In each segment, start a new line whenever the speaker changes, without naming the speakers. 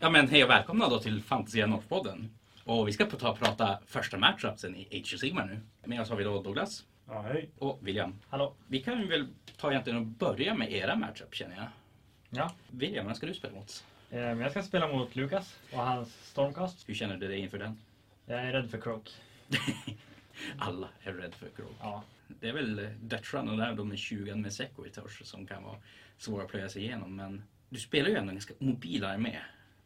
Ja men hej och välkomna då till Fantasia North-podden. Och vi ska på ta prata första matchupsen i Age of Sigmar nu. Med oss har vi då Douglas
Ja, hej.
och William.
Hallå.
Vi kan ju väl ta egentligen och börja med era matchup känner jag.
Ja,
William, vem ska du spela mot?
eh, men jag ska spela mot Lukas och hans Stormcast.
Hur känner du dig inför den?
Jag är rädd för Croak.
Alla är rädda för Krog.
Ja,
Det är väl dödsrunner där de är 20 med Sequitors som kan vara svåra att plöja sig igenom. Men du spelar ju ändå en ganska mobil armé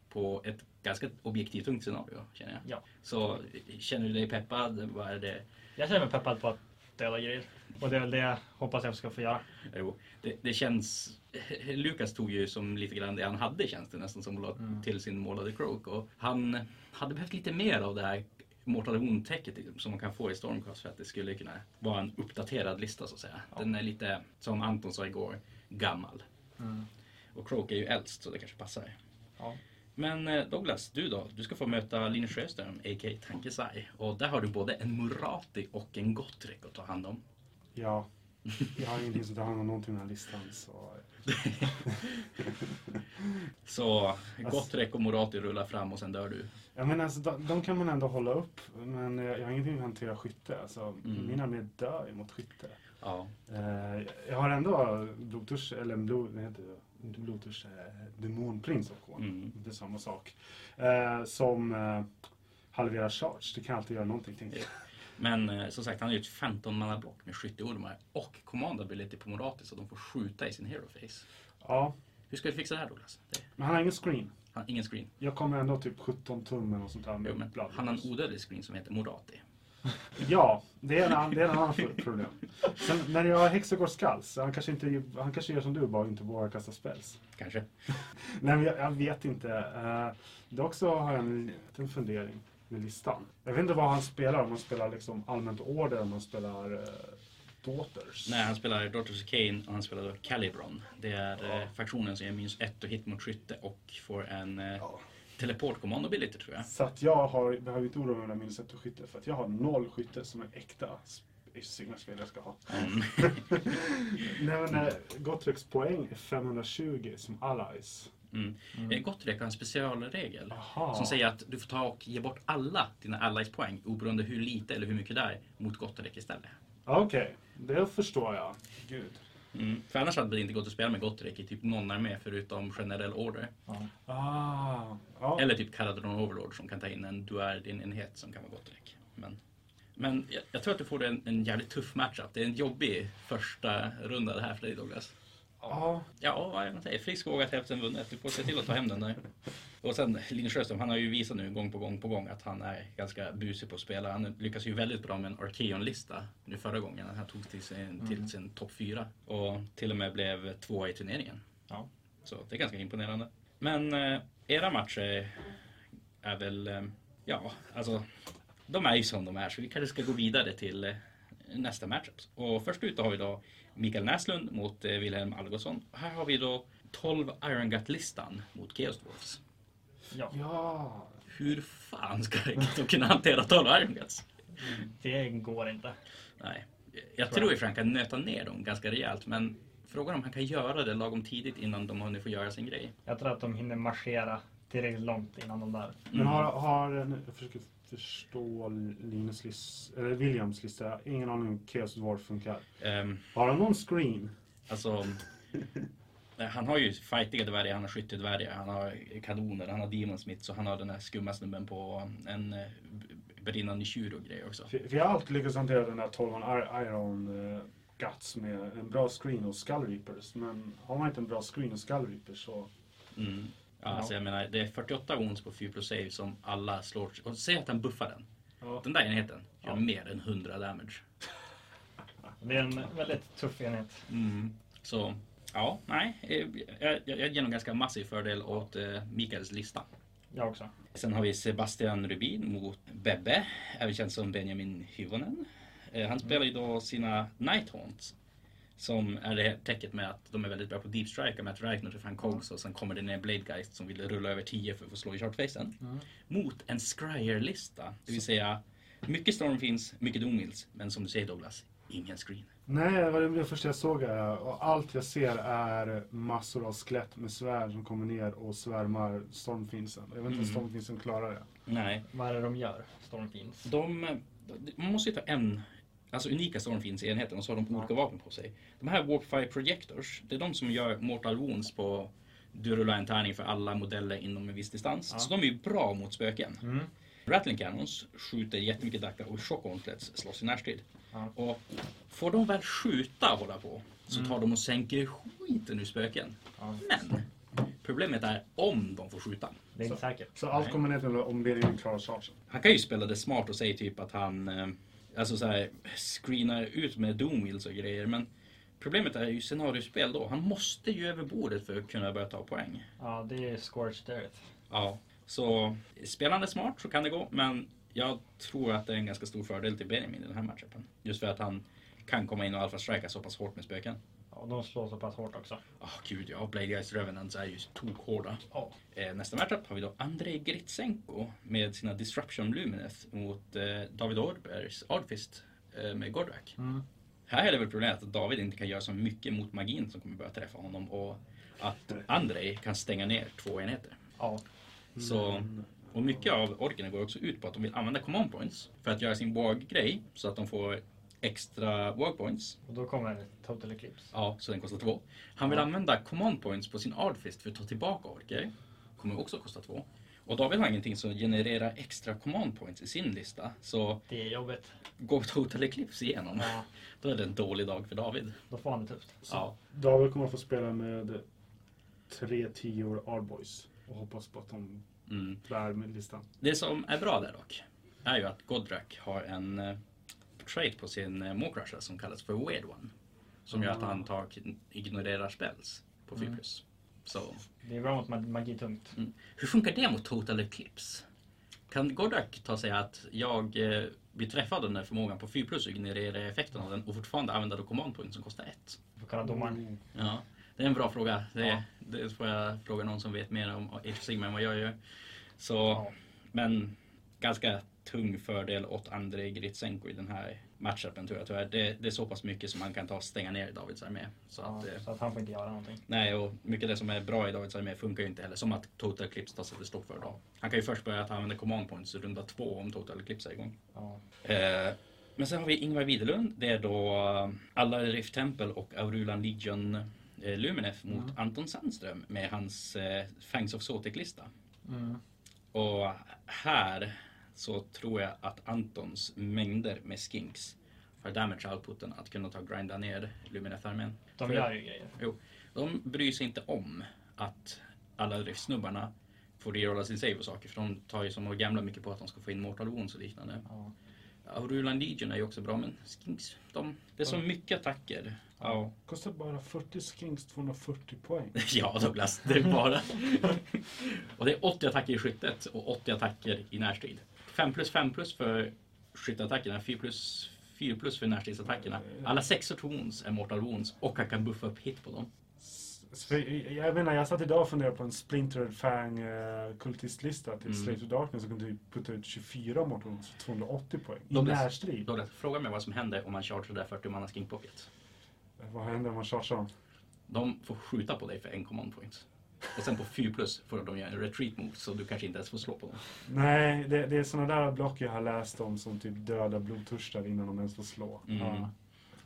på ett ganska objektivt tungt scenario känner jag.
ja.
Så eh, känner du dig peppad? Vad är det?
Jag känner mig peppad på att döda grejer. Och det är väl det jag hoppas jag ska få göra.
Jo, det, det känns... Lukas tog ju som lite grann det han hade känns det nästan som att la till sin målade croak. Och han hade behövt lite mer av det här Mortal Wound-täcket liksom, som man kan få i Stormcast för att det skulle kunna vara en uppdaterad lista så att säga. Den är lite, som Anton sa igår, gammal. Och Croak är ju äldst så det kanske passar.
Mm. Ja.
Men eh, Douglas, du då? Du ska få möta Linus Sjöström, a.k.a. Tankesai. Och där har du både en Murati och en Gottrek att ta hand om.
Ja, jag har ingenting som tar hand om någonting i den här listan. Så.
Så Gottrek och Morati rullar fram och sen dör du.
Ja, men alltså, de, de kan man ändå hålla upp, men eh, jag har ingenting att hantera skytte. Alltså,
Mm.
Min armé dör ju mot skytte.
Ja.
Eh, jag har ändå blodturs, eller en blod, vad heter det? Inte blodturs, eh, demonprins och hon.
Mm.
Det är samma sak. Eh, som eh, halverar charge, det kan alltid göra någonting. Tänkte jag.
Men eh, som sagt, han har ju ett 15 block med skytteormar och command ability på Morati så de får skjuta i sin hero face.
Ja,
Hur ska du fixa det här Douglas? Det,
men han har ingen screen.
han, ingen screen.
Jag kommer ändå typ 17 tummen och sånt där. med
Jo, men
blad.
han har en odödlig screen som heter Morati.
Ja, det är en, an- det är en annan pro- problem. Sen, när jag har Hexagor Skulls, så han kanske, inte, han kanske gör som du, bara inte vågar kasta spells.
Kanske.
Nej, men jag, jag vet inte. Eh, det också har jag en liten fundering med listan. Jag vet inte vad han spelar, om han spelar liksom allmänt order, om han spelar uh, Daughters.
Nej, han spelar Daughters of Kane och han spelar då Calibron. Det är eh, faktionen som ger minus ett och hit mot skytte och får en eh,
Ja.
teleport command ability tror jag.
Så att jag har, behöver inte oroa mig över minus ett och skytte, för att jag har noll skytte som en äkta Sigma-spelare ska ha.
Mm.
Nej men uh, Gottreks poäng är 520 som allies.
Mm. Mm. Gottrek har en specialregel
Aha.
som säger att du får ta och ge bort alla dina allies poäng oberoende hur lite eller hur mycket det är mot Gottrek istället.
Okej, det förstår jag. Gud.
Mm. För annars hade det inte gått att spela med Gottrek i typ någon armé förutom generell order.
Ja.
Ah, ja.
Eller typ Caradron Overlord som kan ta in en duär din enhet som kan vara Gottrek. Men, men jag, jag tror att du får en, en jävligt tuff matchup. Det är en jobbig första runda det här för dig Douglas.
ja.
Ja, vad jag säger. Frisk vågat hälften vunnet. Du får se till att ta hem den där. Och sen Linus Sjöström, han har ju visat nu gång på gång på gång att han är ganska busig på att spela. Han lyckas ju väldigt bra med en Arkeon-lista nu förra gången. Han tog till sin, till sin topp fyra och till och med blev tvåa i turneringen.
Ja.
Så det är ganska imponerande. Men eh, era matcher är väl, eh, ja, alltså de är ju som de är så vi kanske ska gå vidare till eh, nästa matchup. Och först ut då har vi då Mikael Näslund mot eh, Wilhelm Algotsson. Här har vi då 12 Iron Gut-listan mot Chaos Dwarfs.
ja.
Ja.
Hur fan ska de kunna hantera 12 Iron Guts?
Det går inte.
Nej. Jag tror i och för sig han kan nöta ner dem ganska rejält men frågan är om han kan göra det lagom tidigt innan de har hunnit få göra sin grej.
Jag tror att de hinner marschera tillräckligt långt innan de där.
Men har, har, nu- jag försöker förstå Linus list, eller Williams lista. Jag har Ingen aning om Chaos Dwarf funkar.
Ehm,
Har han någon screen?
Alltså, nej, han har ju fightiga dvärgar, han har skyttedvärgar, han har kanoner, han har demon smith, så han har den här skumma snubben på en eh, b- brinnande tjur och grejer också.
För, för jag har alltid lyckats hantera den där 12 ir- Iron eh, Guts med en bra screen och Skull Reapers. Men har man inte en bra screen och Skull Reapers så...
Mm. Ja, alltså jag menar, det är 48 wounds på 4 plus save som alla slår. Och säg att han buffar den.
Ja.
Den där enheten gör mer än 100 damage.
Det är en väldigt tuff enhet.
Mm.
Så ja, nej. eh, Jag, jag, jag ger nog ganska massiv fördel åt eh, Mikaels lista.
Jag också.
Sen har vi Sebastian Rubin mot Bebbe, även känd som Benjamin Hyvonen. Eh, Han spelar ju då sina Night Haunts. Som är det här täcket med att de är väldigt bra på deep strike med att räkna till fan Cogs och sen kommer det ner Blade Geist som vill rulla över 10 för att få slå i chartfacen. Mot en Scryer-lista, det vill säga mycket Storm finns, mycket Domils, men som du säger Douglas, Ingen screen.
Nej, det var det första jag såg här. Och allt jag ser är massor av skelett med svärd som kommer ner och svärmar stormfinsen. Jag vet inte om
Mm.
stormfinsen klarar det.
Nej.
Vad är det de gör? Stormfiends?
De, man måste ju ta en, alltså unika stormfinns i enheten och så har de olika vapen på sig. De här Warpfire Projectors, det är de som gör Mortal Wounds på du rullar en tärning för alla modeller inom en viss distans.
Ja.
Så de är ju bra mot spöken.
Mm.
Rattling Cannons skjuter jättemycket Dacca och Shock Gauntlets slåss i närstrid.
Ja. Mm.
Och får de väl skjuta och hålla på så tar de och sänker skiten ur spöken.
Ja.
Men problemet är om de får skjuta.
Det är inte säkert.
Så allt
Nej.
kommer ner till om Beringen klarar chargen.
Han kan ju spela det smart och säga typ att han eh, alltså så här, screenar ut med doomwheels och grejer. Men problemet är ju scenariospel då. Han måste ju över bordet för att kunna börja ta poäng.
Ja, det är scorched earth.
Ja. Så spelar han det smart så kan det gå. Men jag tror att det är en ganska stor fördel till Benjamin i den här matchupen. Just för att han kan komma in och alfa-strika så pass hårt med spöken.
Ja, de slår så pass hårt också.
Ah gud ja, Blade Guys Revenants är ju tokhårda.
Ja.
Eh, nästa matchup har vi då Andrei Gritsenko med sina Disruption Lumineth mot eh, David Orbergs Ardfist eh, med Gordrak.
Mm.
Här är det väl problemet att David inte kan göra så mycket mot magin som kommer börja träffa honom och att Andrei kan stänga ner två enheter.
Ja.
Så,
Mm.
och mycket av orkerna går också ut på att de vill använda command points för att göra sin wag-grej så att de får extra wag points
Och då kommer Total Eclipse.
Ja, så den kostar två. Han vill använda command points på sin Ardfist för att ta tillbaka orker. Kommer också kosta två. Och David har ingenting som genererar extra command points i sin lista. Så
Det är jobbigt.
går Total Eclipse igenom,
Ja,
då är det en dålig dag för David.
då får han det tufft.
Ja.
David kommer att få spela med tre tior Arboys och hoppas på att de
Mm.
bär med listan.
Det som är bra där dock, är ju att Godrak har en eh, trait på sin eh, Mawcrusher som kallas för Weird One. Som gör att han tar, ignorerar spells på 4 plus. Så
Det är bra mot mag- magitungt.
Hur funkar det mot Total Eclipse? Kan Godak ta sig att jag eh, blir träffad av den här förmågan på 4 plus och genererar effekten av den och fortfarande använda då command point som kostar 1?
Får kalla domaren.
Mm.
Ja, det är en bra fråga. Det,
Ja.
det får jag fråga någon som vet mer om Age of Sigma än vad jag gör. Så,
Ja.
men ganska tung fördel åt Andrei Gritsenko i den här matchupen tror jag tyvärr. Det, det är så pass mycket som man kan ta och stänga ner Davids armé. Så
Ja,
att, eh,
så att han får inte göra någonting.
Nej, och mycket av det som är bra i Davids armé funkar ju inte heller. Som att Total Eclipse tar sig till stopp för dag. Han kan ju först börja att använda command points i runda två om Total Eclipse är igång.
Ja.
Eh, men sen har vi Ingvar Widerlund. Det är då eh, alla Rift Temple och Aurulan Legion eh, Luminef mot Anton Sandström med hans eh, Fangs of Sotic-lista.
Mm.
Och här så tror jag att Antons mängder med skinks har damage outputen att kunna ta och grinda ner Luminef-armén.
De
För-
gör ju grejer.
Jo, de bryr sig inte om att alla driftsnubbarna får rerolla sin save och saker. För de tar ju som och gamla mycket på att de ska få in mortal wounds och liknande.
Ja.
Aurulan Legion är ju också bra men Skinks, de, det är så mycket attacker. Ja,
Kostar bara 40 skinks 240 poäng.
ja Douglas, det är bara. och det är 80 attacker i skyttet och 80 attacker i närstrid. 5 plus 5 plus för skytteattackerna, 4 plus 4 plus för närstridsattackerna. Alla sexor till wounds är mortal wounds och jag kan buffa upp hit på dem.
S- för Jag jag vet inte, jag satt idag och funderade på en Splinter Fang eh, kultistlista till
Mm.
Slave to Darkness och kunde ju putta ut 24 mot honom för 280 poäng. I
Douglas.
närstrid.
Douglas, fråga mig vad som händer om man chartrar 40 manna skink pocket.
Vad händer om man chargear dem?
De får skjuta på dig för en command point. Och sen på 4 plus får de göra en retreat move så du kanske inte ens får slå på dem.
Nej, det, det är sådana där block jag har läst om som typ döda blodtörstar innan de ens får slå.
Mm.
Ja.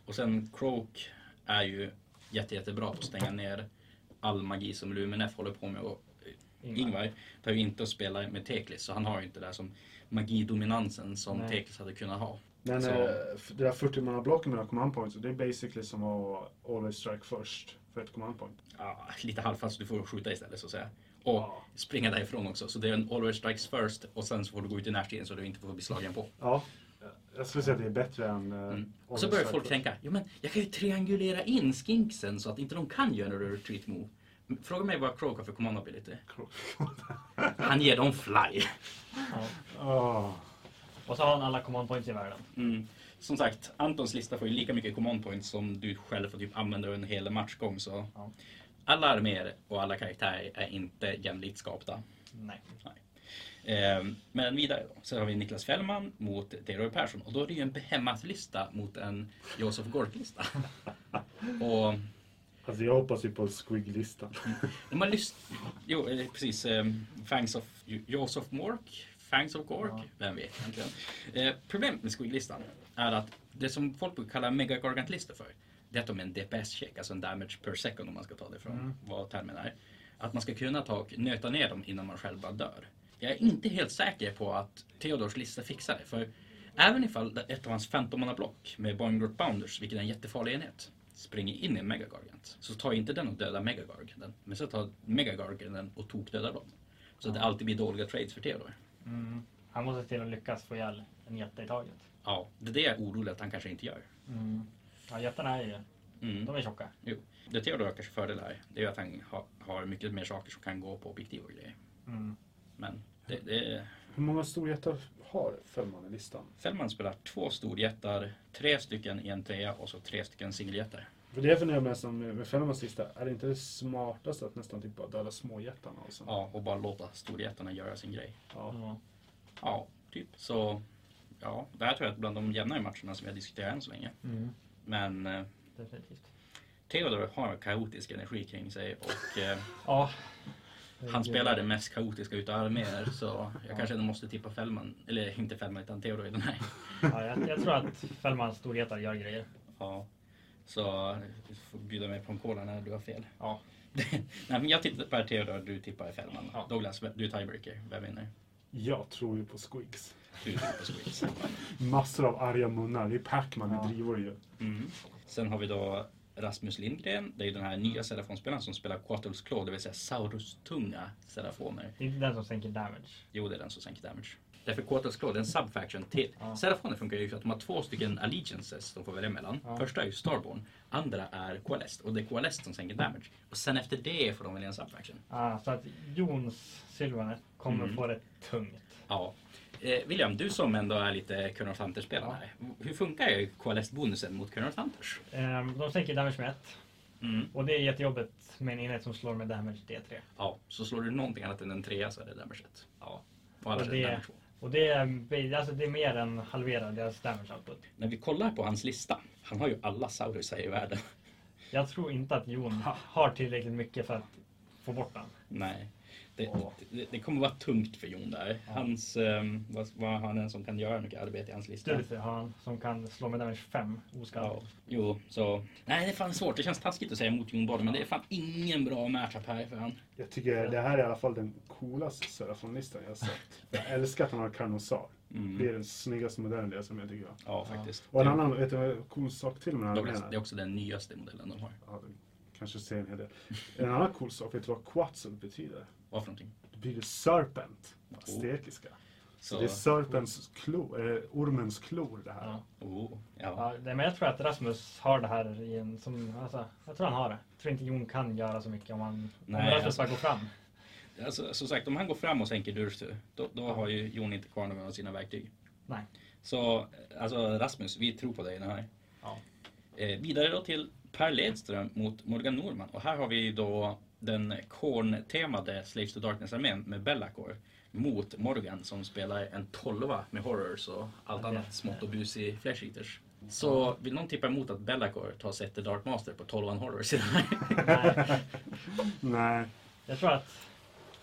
Och sen Croak är ju jätte, jättebra på att stänga ner all magi som Luminef håller på med. Och Ingvar tar ju inte att spela med Teklis så han har ju inte det där som magidominansen som
Nej.
Teklis hade kunnat ha.
Men
Så-
eh, f- det där 40 manna blocken med några command points, det är basically som att always strike först för ett command point.
Ja, lite halvfast, du får skjuta istället så att säga. Och springa därifrån också. Så det är en always strikes first och sen så får du gå ut i närstriden så du inte får bli slagen på.
Ja. Jag skulle säga att det är bättre än... eh,
Mm. Och
always
så börjar
strike
folk
first.
tänka, ja men jag kan ju triangulera in skinksen så att inte de kan göra några retreat move. Men Fråga mig vad Croak har för command ability. Han ger dem fly.
Ja.
Ah.
Och så har han alla command points i världen.
Mm. Som sagt, Antons lista får ju lika mycket command points som du själv får typ använda under en hel matchgång. Så
Ja.
alla arméer och alla karaktärer är inte jämlikt skapta.
Nej.
Eh, men vidare då. Sen har vi Niklas Fällman mot Theodor Persson och då är det ju en behemmatlista mot en Josef Gork-lista. och
Alltså jag hoppas ju på Squig-listan.
om man lyssnar... Jo, eh, precis. Eh, Fangs of Jo- Joseph Mork. Fangs of Gork. Vem vet egentligen. Eh, problemet med Squig-listan är att det som folk brukar kalla megagargantlistor för det är att de är en DPS-check, alltså en damage per second om man ska ta det från vad termen är. Att man ska kunna ta och nöta ner dem innan man själv bara dör. Jag är inte helt säker på att Theodors lista fixar det, för även ifall ett av hans 15-mannablock med Boingrot Bounders, vilket är en jättefarlig enhet, springer in i en Megagargant, så tar inte den och dödar Megagarganten, men så tar Megagarganten och tokdödar dem. Så att det alltid blir dåliga trades för Theodor.
Mm. Han måste till och lyckas få ihjäl en jätte i taget.
Ja, det är det jag är orolig att han kanske inte gör.
Ja, jättarna är ju...
Mm.
De är tjocka.
Jo. Det Theodor har kanske fördel här, det är ju att han ha, har mycket mer saker som kan gå på objektiv och grejer.
Mm.
Men det, det,
Hur många storjättar har femmannalistan?
Fällman spelar två storjättar, tre stycken i en trea och så tre stycken singeljättar.
För det funderar jag mest om med femmans lista. Är det inte det smartaste att nästan typ bara döda småjättarna? Och sen,
Ja, och bara låta storjättarna göra sin grej.
Ja.
Ja.
Ja, typ. Så ja, det här tror jag är bland de jämnare matcherna som vi har diskuterat än så länge. Men eh,
Definitivt.
Theodor har kaotisk energi kring sig och eh,
Ja.
han spelar det mest kaotiska utav arméer så jag kanske ändå måste tippa Fällman, eller inte Fällman utan Theodor i den här.
Ja, jag, jag tror att Fällmans storheter gör grejer.
Ja. Så du får bjuda mig på en cola när du har fel.
Ja.
Nej, men jag tippar på Theodor, du tippar Fällman.
Ja.
Douglas, du är tiebreaker. Vem vinner?
Jag tror ju på squigs.
Du tippar på Squeeze.
Massor av arga munnar. Det är Pac-Man
Ja.
i drivor ju.
Mm. Sen har vi då Rasmus Lindgren. Det är ju den här nya serafonspelaren som spelar Quatuls Claw, det vill säga Saurus-tunga serafoner.
Det är inte den som sänker damage.
Jo, det är den som sänker damage. Därför Quatuls Claw, det är en subfaction till.
Ja.
Serafoner funkar ju för att de har två stycken allegiances de får välja mellan.
Ja.
Första är ju Starborn, andra är Coalesced och det är Coalesced som sänker damage. Och sen efter det får de välja en subfaction.
Ah, så att Jons Sylvanet kommer
Mm.
få det tungt.
Ja. Eh, William, du som ändå är lite Colonel Hunters-spelare. Hur funkar KLS-bonusen mot Colonel Hunters?
Ehm, de sänker damage med ett.
Mm.
Och det är jättejobbigt med en enhet som slår med damage D3.
Ja, så slår du någonting annat än en trea så är det damage 1. Ja. Och
Och
annars är det
det-
damage 2.
Och det är, alltså det är mer än halverar deras damage output.
När vi kollar på hans lista, han har ju alla saurusar i världen.
Jag tror inte att Jon har tillräckligt mycket för att få bort den.
Nej. Det, det, det kommer vara tungt för Jon där. Hans, ehm, vad, vad har han än som kan göra mycket arbete i hans lista?
Studicy har han som kan slå med damage 5 oskadd.
Ja, jo, så. Nej, det är fan svårt. Det känns taskigt att säga emot Jon Borg, men det är fan ingen bra matchup här för han.
Jag tycker det här är i alla fall den coolaste Serafon-listan jag har sett. Jag älskar att han har Carnosar.
Mm.
Det är den snyggaste modellen det som jag tycker om.
Ja, faktiskt.
Och en annan, vet du vad cool sak till med den här?
Douglas, det är
armén är?
också den nyaste modellen de har.
Ja, det kanske säger en hel del. En annan cool sak, vet du vad Quetzal betyder?
Vad för någonting?
Det betyder serpent på
Oh.
aztekiska. Så
Så,
det är serpens klor, eller ormens klor det här.
Ja.
oh, ja.
Ja, det- men jag tror att Rasmus har det här i en som, alltså, jag tror han har det. Jag tror inte Jon kan göra så mycket om han,
Nej,
om Rasmus
alltså.
bara går fram.
Alltså, som sagt, om han går fram och sänker Durstu, då, då har ju Jon inte kvar några av sina verktyg.
Nej.
Så alltså, Rasmus, vi tror på dig i den här.
Ja.
Eh, vidare då till Per Ledström mot Morgan Norman. Och här har vi då den Korn-temade Slaves to Darkness-armén med Bellacor mot Morgan som spelar en tolva med Horrors och allt
Ja, det-
annat smått och busig Flash Eaters. Så vill någon tippa emot att Bellacor tar Setter Dark Master på 12 Horrors i den här?
Nej.
Nej,
Jag tror att,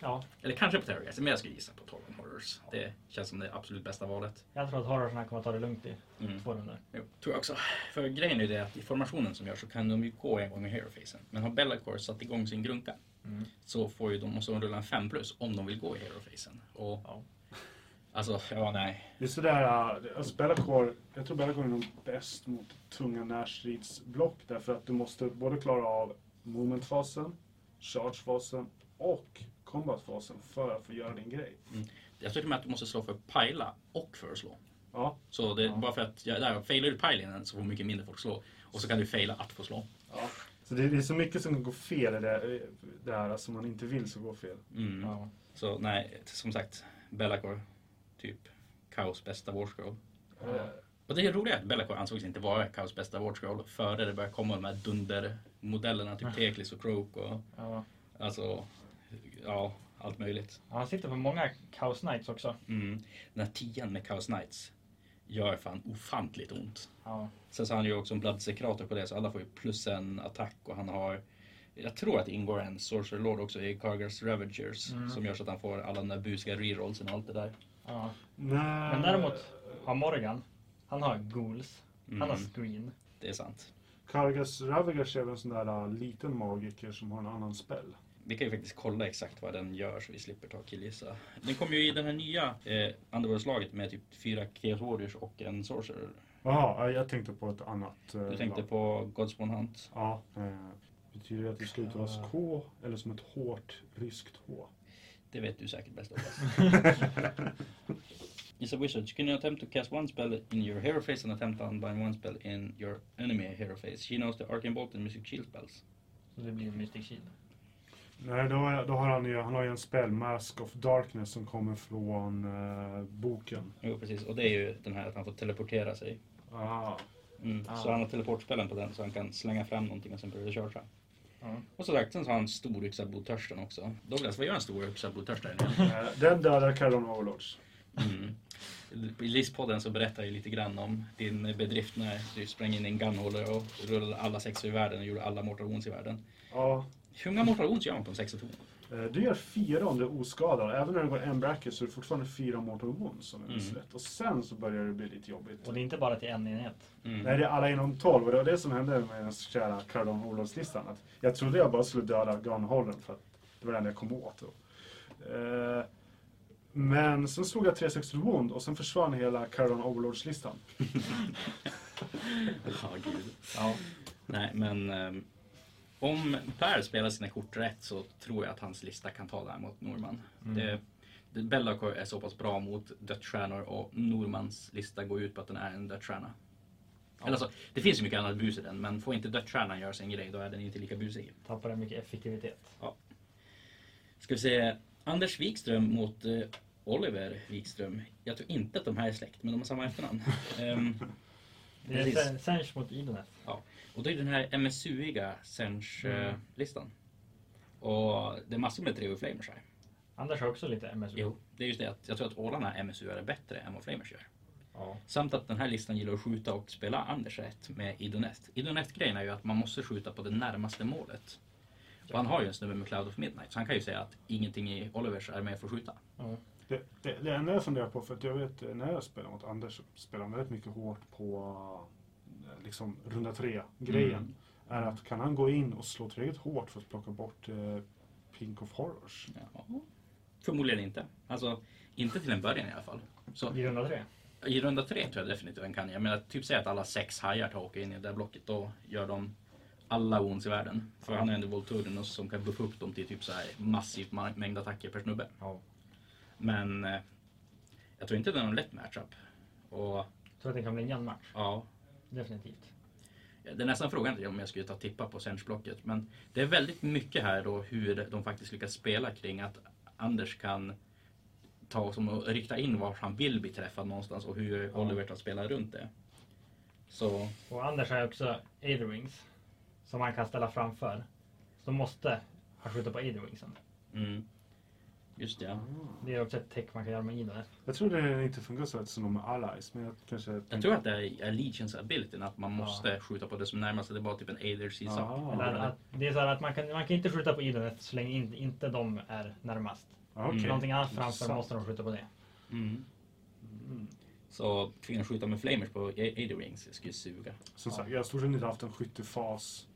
ja,
Eller kanske på Terrorgeist, men jag skulle gissa på 12 Horrors. Det känns som det absolut bästa valet.
jag tror att Horrorsarna kommer ta det lugnt i
Mm.
två runder.
Jo, tror jag också. För grejen är ju det att i formationen som görs så kan de ju gå en gång i herofacen. Men har Bellacore satt igång sin grunka
Mm.
så får ju de, måste de rulla en 5 plus om de vill gå i herofacen. Och
Ja.
alltså, ja nej.
det är sådär, äh, alltså Bellacore, jag tror Bellacore är nog bäst mot tunga närstridsblock därför att du måste både klara av momentfasen, chargefasen och combatfasen för att få göra din grej.
Mm. Jag tror till och med att du måste slå för pajla och för att slå.
Ja,
Så det är bara för att, ja, där, failar du pajlingen så får mycket mindre folk slå. Och så kan du faila att få slå.
ja. Så det, det är så mycket som kan gå fel i det, det här som man inte vill ska gå fel.
Mm.
Ja.
Så nej, som sagt, Bellacore, typ kaos bästa Warscroll.
Eh,
Och det är roligt att Bellacore ansågs inte vara Kaos bästa Wardscroll före det började komma de här dundermodellerna, typ Teklis och Croak och
Ja.
alltså, ja, allt möjligt.
Han sitter på många Chaos Knights också.
Mm. Den här tian med Chaos Knights gör fan ofantligt ont.
Ja.
Sen så har han ju också en bloodsekrator på det så alla får ju plus en attack och han har jag tror att det ingår en Sorcerer Lord också i Kargas Ravagers
Mm.
som gör så att han får alla de där busiga rerollsen och allt det där.
ja.
Nej.
Men däremot har Morgan, han har Ghouls, han har
Mm.
Screen.
Det är sant.
Kargas Ravagers är väl en sån där äh, liten magiker som har en annan spell.
Vi kan ju faktiskt kolla exakt vad den gör så vi slipper ta och killgissa. Den kommer ju i den här nya eh, Underworld-slaget med typ fyra Chaos Warriors och en Sorcerer.
Jaha, äh, jag tänkte på ett annat. äh,
Du tänkte
lag.
på Godspawn Hunt?
Ja. äh, Betyder det att det ska uttalas
Ja.
K eller som ett hårt ryskt H?
Det vet du säkert bäst Olas. Is a wizard. You can attempt to cast one spell in your hero phase and attempt to unbind one spell in your enemy hero phase. She knows the Arcane Bolt and Mystic Shield spells.
Så det blir Mystic Shield.
Nej, då, har- då har han ju, han har ju en spell, Mask of Darkness, som kommer från eh, boken.
Jo precis, och det är ju den här att han får teleportera sig.
Ah.
Mm.
Ah.
Så han har teleportspellen på den så han kan slänga fram någonting och sen börjar det köra.
Ja.
Och så sagt, sen så har han storyxa blodtörsten också. Douglas, vad gör en storyxa blodtörsten?
Eh, Den dödar Caron Overlords.
Mm. I Lispodden så berättar jag ju lite grann om din bedrift när du sprang in i en gunholder och rullade alla sexor i världen och gjorde alla Mortal Wounds i världen.
Ja.
Hur många Mortal Wounds gör man på en sexa ton?
Eh, Du gör fyra om du är oskadad. Även när du går en bracket så är det fortfarande fyra mortal wounds om jag minns
Mm.
rätt. Och sen så börjar det bli lite jobbigt.
Och det är inte bara till en enhet.
Mm.
Nej, det är alla inom 12 och det var det som hände med den så kära Cardon Olofslistan. Att jag trodde jag bara skulle döda Gunholden för att det var den jag kom åt. Då. Eh, men sen slog jag 360 wound och sen försvann hela Cardon Overlords-listan.
Ja, gud.
Ja.
Nej, men ehm, om Per spelar sina kort rätt så tror jag att hans lista kan ta det här mot Norman. Det, det, Bellacor är så pass bra mot dödsstjärnor och Normans lista går ut på att den är en dödsstjärna. Eller alltså, det finns ju mycket annat bus i den, men får inte dödsstjärnan göra sin grej då är den inte lika busig.
Tappar den mycket effektivitet.
Ska vi se, Anders Wikström mot eh, Oliver Wikström. Jag tror inte att de här är släkt, men de har samma efternamn. Ehm,
Det är
Precis.
Sen- Sench mot Idoneth.
Och då är den här MSU-iga
Mm.
Sench-listan. Och det är massor med Treo Flamers här.
Anders har också lite MSU.
Det är just det att jag tror att ålarna MSU är bättre än vad Flamers gör.
Ja.
Samt att den här listan gillar att skjuta och spela Anders rätt med Idonett. Idonett-grejen är ju att man måste skjuta på det närmaste målet. Och han har ju en snubbe med Cloud of Midnight så han kan ju säga att ingenting i Olivers är med för att skjuta.
Det, det, det enda jag funderar på, för att jag vet eh, när jag spelar mot Anders så spelar han väldigt mycket hårt på eh, liksom runda tre-grejen.
Mm.
Är att kan han gå in och slå tillräckligt hårt för att plocka bort eh, Pink of Horrors?
Ja. Förmodligen inte. Alltså, inte till en början i alla fall. Så
I runda tre.
I runda tre tror jag definitivt den kan. Jag menar, typ säg att alla sex hajar tar och åker in i det där blocket. Då gör de alla ons i världen. För han är ändå Volturinos som kan buffa upp dem till typ så här massiv ma- mängd attacker per snubbe.
Ja.
Men eh, jag tror inte det är någon lätt matchup. Och
Tror att det kan bli en jämn match.
ja,
Definitivt.
det är nästan frågan till om jag skulle ta tippa på Sench-blocket. Men det är väldigt mycket här då hur de faktiskt lyckas spela kring att Anders kan ta som och rikta in var han vill bli träffad någonstans och hur Oliver tar spela runt det. Så
Och Anders har ju också Aetherwings. Som han kan ställa framför. Så måste han skjuta på Aetherwingsen.
Mm. Just det, ja.
Det är också ett täck man kan göra med Idoneth.
Jag tror det inte funkar så eftersom de är allies. Men jag kanske...
Jag tror att det är Allegiance abilityn, att man måste skjuta på det som närmast. Det är bara typ en Aider Caesar.
Ah.
Eller att, det är så här att man kan, man kan inte skjuta på Idoneth så länge in, inte de är närmast.
Ah,
Mm.
okej.
Någonting annat framför
Intressant.
måste de skjuta på det.
Mm.
Mm.
Så tvinga skjuta med flamers på Aider Wings, det skulle suga.
Som sagt, jag har i stort sett inte haft en skyttefas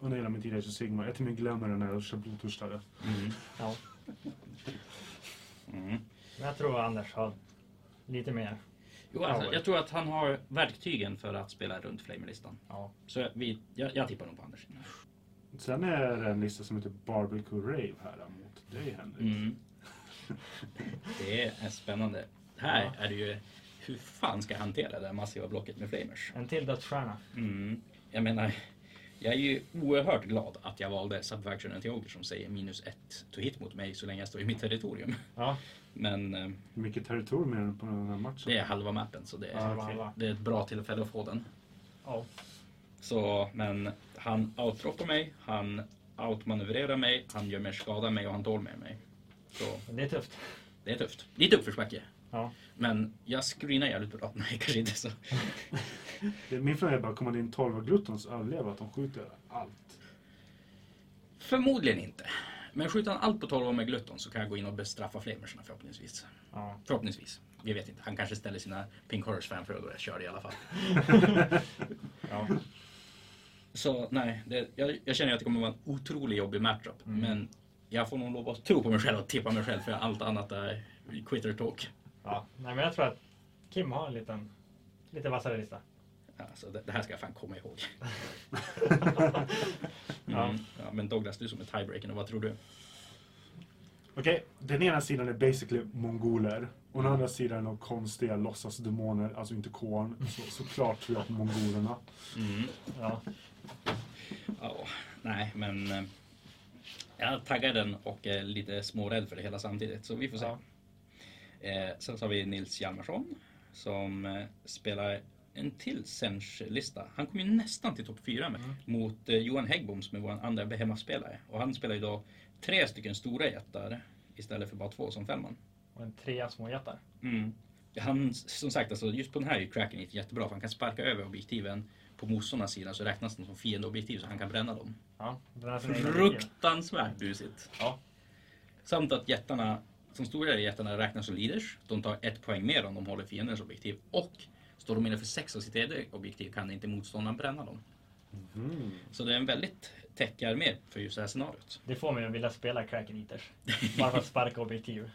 under hela min tid i Age of Sigmar. Jag till och med glömmer den när jag kör blodtörstare.
Mm.
Ja.
Mm.
Men jag tror Anders har lite mer.
Jo, alltså, jag tror att han har verktygen för att spela runt flamerlistan.
Ja.
Så jag, vi, jag, jag tippar nog på Anders.
Sen är det en lista som heter Barbecue Rave här mot dig Henrik.
Mm. Det är spännande. Här
Ja.
är det ju, hur fan ska jag hantera det här massiva blocket med flamers?
En till dödsstjärna.
Mm. Jag menar, jag är ju oerhört glad att jag valde Subfactionen till Ogre som säger minus ett to hit mot mig så länge jag står i mitt territorium.
Ja.
Men eh,
Hur mycket territorium är det på den här matchen?
det är halva mappen så det
Ja,
är,
okej.
halva.
det är ett bra tillfälle att få den.
Ja.
Så, men han outroppar mig, han outmanövrerar mig, han gör mer skada än mig och han tål mer än mig. Så
Men Det är tufft.
det är tufft. Lite uppförsbacke.
Ja.
Men jag screenar jävligt bra. Nej, kanske inte så.
Det- Min fråga är bara, kommer din torvaglutons överleva att de skjuter allt?
Förmodligen inte. Men skjuter han allt på 12 med glutton så kan jag gå in och bestraffa flamerserna förhoppningsvis.
Ja.
Förhoppningsvis. Vi vet inte. Han kanske ställer sina Pink Horrors framför och då jag kör i alla fall.
Ja.
Så nej, det, jag, jag känner att det kommer vara en otroligt jobbig matchup.
Mm.
Men jag får nog lov att tro på mig själv och tippa mig själv för allt annat är quitter talk.
ja. Nej, men jag tror att Kim har en liten, lite vassare lista.
Alltså, det, det här ska jag fan komma ihåg.
Ja.
Mm. Ja, men Douglas, du som är tiebreaker, vad tror du?
Okej, den ena sidan är basically mongoler. Och den andra sidan är några konstiga låtsasdemoner, alltså inte korn. Så, såklart tror jag på mongolerna.
Mm.
Ja.
Ja, nej, men eh, jag är taggad den och är lite smårädd för det hela samtidigt, så vi får se.
Ja.
Eh, sen så har vi Nils Hjalmarsson som eh, spelar en till Sench-lista. Han kom ju nästan till topp 4 med, mot eh, Johan Häggbom som är vår andra hemmaspelare. Och han spelar idag tre stycken stora jättar istället för bara två som femman.
Och en trea småjättar.
Mm. Han, som sagt, alltså, just på den här är cracken jättebra för han kan sparka över objektiven på motståndarnas sida så räknas de som fiendeobjektiv så han kan bränna dem.
Ja. Den här som är negativ.
Fruktansvärt busigt.
Ja.
Samt att jättarna, som stora är jättarna räknas som leaders. De tar ett poäng mer om de håller fiendens objektiv. Och står de innanför sex av sitt eget objektiv kan inte motståndaren bränna dem. Så det är en väldigt täckar med för just det här scenariot.
Det får mig att vilja spela Kraken Eaters. Bara för att sparka objektiv.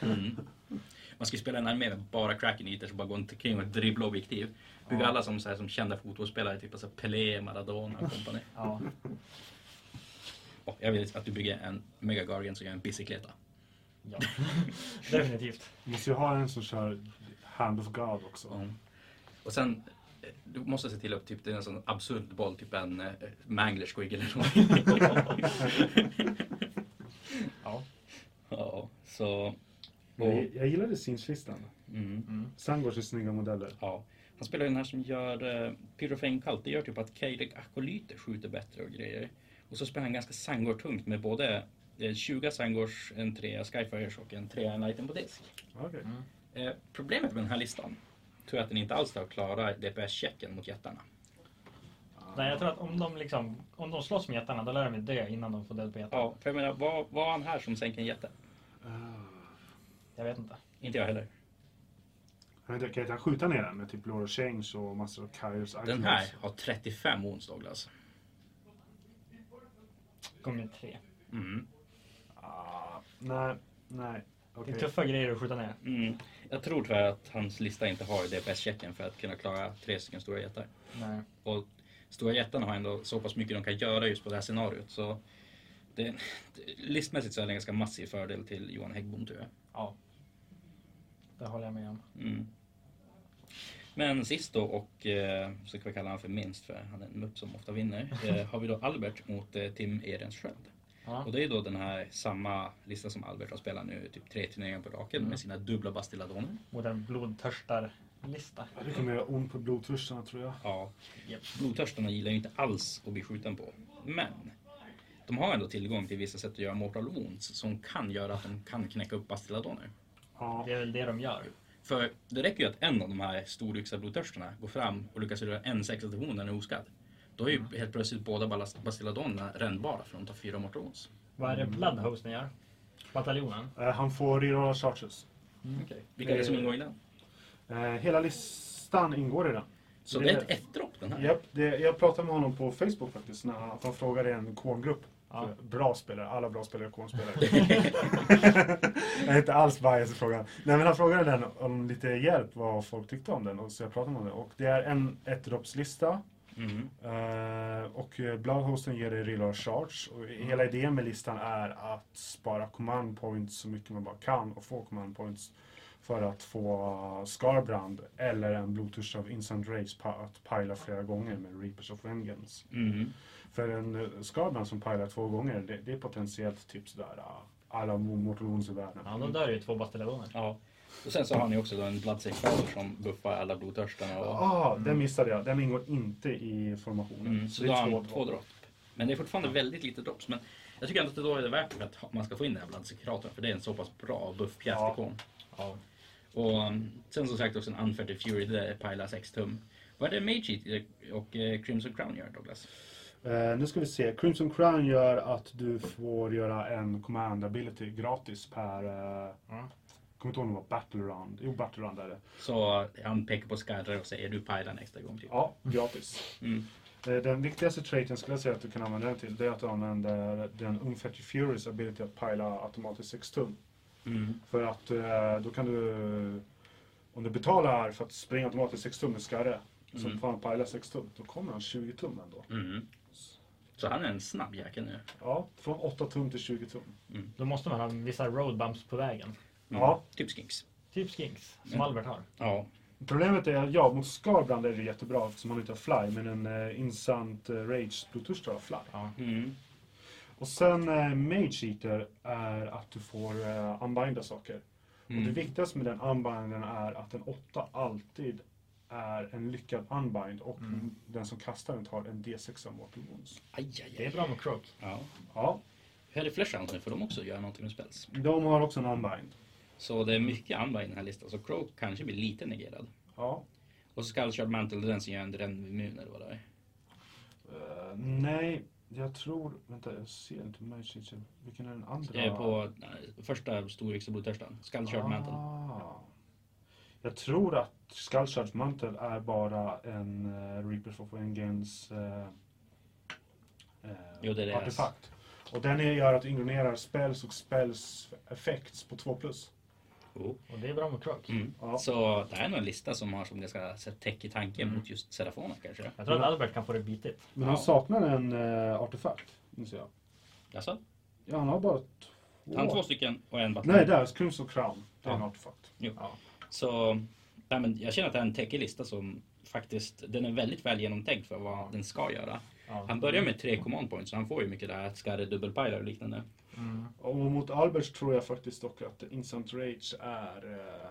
Mm. Man ska ju spela en armé med bara cracken eaters och bara gå omkring och dribbla objektiv. Bygga alla som, så här, som kända fotbollsspelare, typ alltså Pelé, Maradona och kompani.
Ja.
Och jag vill att du bygger en Mega Guardian som gör en bicicleta.
ja. Definitivt.
Måste ju ha en som kör Hand of God också.
Mm. Och sen, eh, du måste se till att typ, det är en sån absurd boll, typ en eh, mangler squiggle eller någonting.
Ja.
ja, så...
Men Jag, jag gillade Sinch-listan.
Mm,
Mm.
Sangors är snygga modeller.
ja. Han spelar ju den här som gör eh, Pyrofane kallt. Det gör typ att Keidek Akolyter skjuter bättre och grejer. Och så spelar han ganska sangortungt med både eh, 20 sangors, en 3 Skyfires och en 3 Enlighten på disk.
Okay.
Eh, problemet med den här listan tror jag att den inte alls har klarat DPS-checken mot jättarna.
Nej, jag tror att om de, liksom, om de slåss med jättarna då lär de ju dö innan de får död på jättarna.
Ja, för jag menar, var, var han här som sänker en jätte?
Ah.
Jag vet inte.
Inte jag heller.
Jag vet inte, kan jag skjuta ner den med typ Lord of Change och massor av Kairos items?
Den här har alltså. 35 ons Douglas.
Gånger tre.
Mm.
Ah, nej, nej.
Det är
Okej.
tuffa grejer att skjuta ner.
Mm. Jag tror tyvärr att hans lista inte har DPS-checken för att kunna klara tre stycken stora jättar.
Nej.
Och stora jättarna har ändå så pass mycket de kan göra just på det här scenariot. Så det, det- listmässigt så är det en ganska massiv fördel till Johan Häggbom tror jag.
Ja. Det håller jag med om.
Mm. Men sist då och eh, så kan vi kalla honom för minst för han är en mupp som ofta vinner. Eh, har vi då Albert mot eh, Tim Ehrenskiöld.
Ja.
Och det är då den här samma lista som Albert har spelat nu, typ tre turneringar på raken med sina dubbla bastilladoner.
Mot en blodtörstarlista.
Det kommer göra ont på blodtörstarna tror jag.
Ja,
Japp.
blodtörstarna gillar ju inte alls att bli skjuten på. Men de har ändå tillgång till vissa sätt att göra mortal wounds som kan göra att de kan knäcka upp bastilladoner.
Ja.
Det är väl det de gör.
För det räcker ju att en av de här storyxade blodtörstarna går fram och lyckas göra en sexa till hon när den är oskadd. Då är ju helt plötsligt båda ballast- bastilladonerna rännbara för de tar fyra mortal wounds.
Vad är det Bloodhosten gör? Bataljonen?
Eh, Han får rerolla charges.
Vilka är det som
Eh,
ingår i den?
Eh, Hela listan ingår i den.
Så
det-
det är ett ett-dropp den här?
Japp, det, jag pratade med honom på Facebook faktiskt, när han, att han frågade en korngrupp.
Ja.
Bra spelare, alla bra spelare är kornspelare. jag är inte alls bias i frågan. Nej men han frågade den om lite hjälp, vad folk tyckte om den. Och så jag pratade om det. Och det är en ettdroppslista.
Mm.
Eh, och eh, Bloodhosten ger dig reload charge. Och
Mm.
Hela idén med listan är att spara command points så mycket man bara kan och få command points för att få eh, Scarbrand eller en Bluetooth av Instant Rage pa- att pila flera gånger med Reapers of Vengeance.
Mm.
För en eh, Scarbrand som pilar två gånger, det, det är potentiellt typ sådär uh, alla Mortal Wounds i världen.
Ja, de dör ju två bataljoner.
Ja. Och sen så har ni också då en Bloodsafe Father som buffar alla blodtörstarna. Och,
Ah, den missade jag. Den ingår inte i formationen.
mm, så
det
då har
är
han
två,
två dropp. Men det är fortfarande väldigt lite drops. Men Jag tycker ändå att det då är det värt att ha- man ska få in det här bland sekuratorn för det är en så pass bra buffpjäs
Ja.
till kon.
Ja.
Och um, sen som sagt också en Unfettered Fury, det är Pila 6 tum. Vad är det Mage Eat och eh, Crimson Crown gör Douglas?
Eh, nu ska vi se. Crimson Crown gör att du får göra en command ability gratis per... Eh,
Ja.
kommer inte ihåg om det var battle round. Jo, battle round är det.
Så eh, han pekar på Skadra och säger du Pila nästa gång typ.
Ja, gratis.
Mm.
Eh, den viktigaste traiten skulle jag säga att du kan använda den till, det är att du använder den Unfetched Furies ability att pila automatiskt 6 tum.
Mm.
För att eh, då kan du... Om du betalar för att springa automatiskt 6 tum med Skarre, så
Mm.
får han pila 6 tum. Då kommer han 20 tum ändå.
Mm. Så han är en snabb jäkel nu. Mm.
Ja, från 8 tum till 20 tum.
Då måste man ha vissa road bumps på vägen.
Mm.
Ja.
Typ Skinks.
Typ skinks, som
Mm.
Albert har.
Ja.
Problemet är att ja, mot Skarbrand är det jättebra eftersom han inte har fly, men en eh, instant eh, rage blodtörstar har fly.
Ja.
Mm.
Och sen eh, mage eater är att du får eh, unbinda saker. Och
Mm.
det viktigaste med den unbinden är att en åtta alltid är en lyckad unbind och
Mm.
den som kastar den tar en D6 av mortal wounds.
Aj, aj,
Det är
aj.
bra med croak.
Ja.
Ja,
Hur är det Flesh Hounds nu? Får de också göra någonting med spels?
de har också en unbind.
Så det är mycket andra i den här listan. Så Croak kanske blir lite negerad.
Ja.
Och så ska Shard Mantle, det är den som gör en den immun eller vad det är.
Eh, nej, jag tror... Vänta, jag ser inte mage eater. Vilken är den andra?
Eh, På eh, första storväxta blodtörstan. Skall Shard Mantle.
Ah. Jag tror att Skullshards mantel är bara en uh, Reapers of Vengeance eh, eh,
Jo, det är deras.
artefakt. Och den är- gör att du ignorerar spells och spells effects på 2 plus.
Oh.
Och det är bra med croak.
Mm.
Ja.
Så det här är nog en lista som har som ganska så här täck i tanken
Mm.
mot just Serafona kanske.
Jag tror att
Ja.
Albert kan få det bitigt.
Men han
Ja.
saknar en eh, artefakt, inser jag.
Jaså?
Ja, han har bara två.
Han har två stycken och en vatten.
Nej, där. Crimson Crown. Det är en
Ja.
artefakt.
Så nej, men jag känner att det är en täckig lista som faktiskt, den är väldigt väl genomtänkt för vad den ska göra.
Ja.
Han börjar med tre command points så han får ju mycket där att skarre dubbelpilar och liknande.
Mm.
Och mot Albers tror jag faktiskt dock att Instant Rage är eh,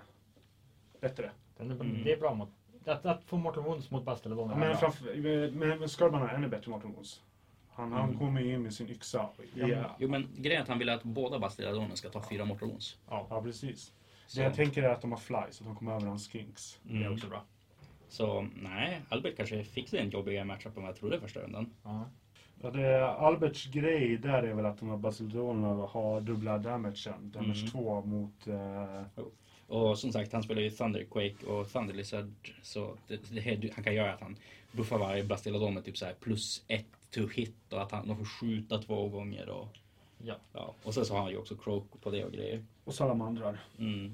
bättre.
Den är,
Mm.
Det är bra mot... Att, att få Mortal Wounds mot Bastelodon
Ja,
är
men,
bra.
framför, men, men Scarban har ännu bättre Martin Wolves. Han, han
Mm.
kommer ju in med sin yxa. Ja,
men-
ja.
Jo men grejen är att han vill att båda Bastiladonerna ska ta fyra mortal wounds.
Ja,
precis.
Så,
Det jag tänker är att de har fly, så de kommer över hans skinks.
det är
mm.
också bra.
så nej, Albert kanske fick sig en jobbigare matchup än vad jag trodde första rundan.
Ja.
Ja, det är Alberts grej där är väl att de här basildonerna har dubbla damagen. Damage
Mm.
2 mot... Eh,
Och som sagt, han spelar ju Thunderquake och Thunder Lizard. Så det, det, här- han kan göra att han buffar varje Bastiladon med typ så här plus ett to hit och att han, de får skjuta två gånger. Och,
Ja.
ja. och sen så har han ju också Croak på det och grejer.
och salamandrar.
Mm.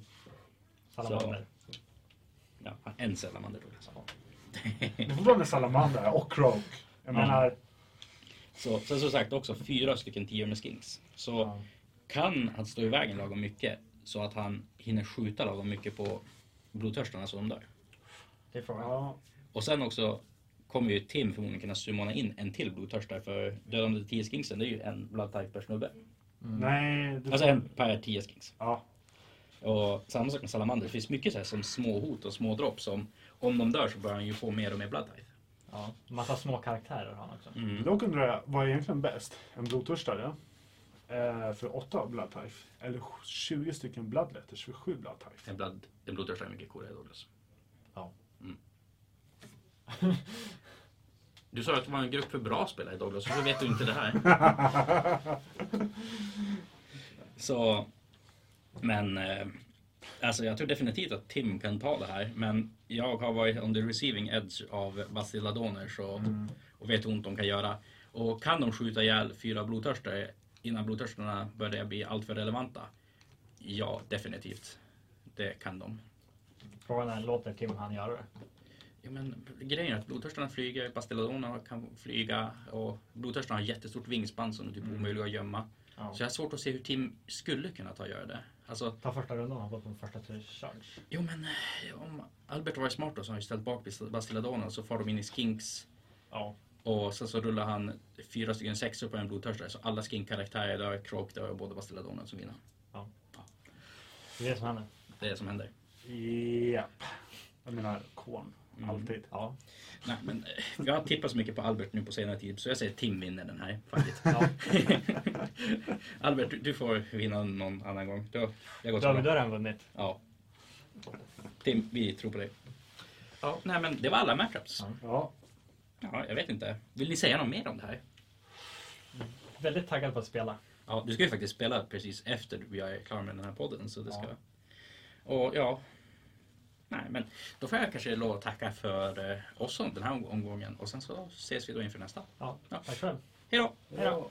Salamander.
Ja, han- en salamander då. Liksom.
Det får vara med salamandrar och croak. Jag
Ja.
menar,
Så, sen som sagt också fyra stycken tior med skinks. Så
Ja.
kan han stå i vägen lagom mycket så att han hinner skjuta lagom mycket på blodtörstarna så de dör.
Det är frågan.
ja,
Och sen också kommer ju Tim förmodligen kunna summona in en till blodtörstare för dödande 10 skinksen det är ju en blood type per snubbe.
nej. Det,
Alltså en per 10 skinks.
ja,
Och samma sak med salamander, det finns mycket så här som små hot och små dropp som om de dör så börjar han ju få mer och mer blood type.
Ja. Massa små karaktärer har han också.
Mm.
Då undrar jag, vad är egentligen bäst? En blodtörstare eh, för 8 blood type? Eller 20 stycken bloodletters för 7 blood type?
En, blood, en blodtörstare är mycket coolare alltså. Douglas.
Ja.
Mm. Du sa att det var en grupp för bra spelare Douglas, så vet du inte det här. Så, men eh, alltså jag tror definitivt att Tim kan ta det här. Men jag har varit on the receiving edge av Bastiladoner så, och vet hur ont de kan göra. Och kan de skjuta ihjäl fyra blodtörstare innan blodtörstarna börjar bli alltför relevanta? Ja, definitivt. Det kan de.
Frågan är, låter Tim han göra det?
Ja, men grejen är att blodtörstarna flyger, Bastiladonerna kan flyga och blodtörstarna har jättestort vingspann som är typ omöjliga att gömma.
Ja.
Så jag har svårt att se hur Tim skulle kunna ta och göra det. Alltså,
Ta första rundan och hoppa på första tre charge.
Jo men eh, om Albert var smart då så har han ju ställt bak Bastiladon och så far de in i Skinks
Ja.
och sen så rullar han fyra stycken sexor på en blodtörstare så alla Skink-karaktärer dör, Croak dör och både Bastiladonen som vinner.
Det är det som händer.
Det är det som händer.
Japp. Jag menar korn.
Mm.
Alltid. Ja.
Nej, men eh, jag har tippat så mycket på Albert nu på senare tid så jag säger Tim vinner den här faktiskt.
ja.
Albert, du- du får vinna någon annan gång. Du har, jag har gått så
David,
långt.
då har han vunnit.
Ja. Tim, vi tror på dig. Ja, nej men det var alla matchups.
Ja,
Ja, jag vet inte. Vill ni säga något mer om det här?
Väldigt taggad på att spela.
Ja, du ska ju faktiskt spela precis efter vi är klara med den här podden. Så det ska...
Ja.
Och ja... Nej, men då får jag kanske lov att tacka för eh, oss om den här omgången. Och sen så ses vi då inför nästa.
Ja.
Ja.
Tack själv.
Hej då!
ja.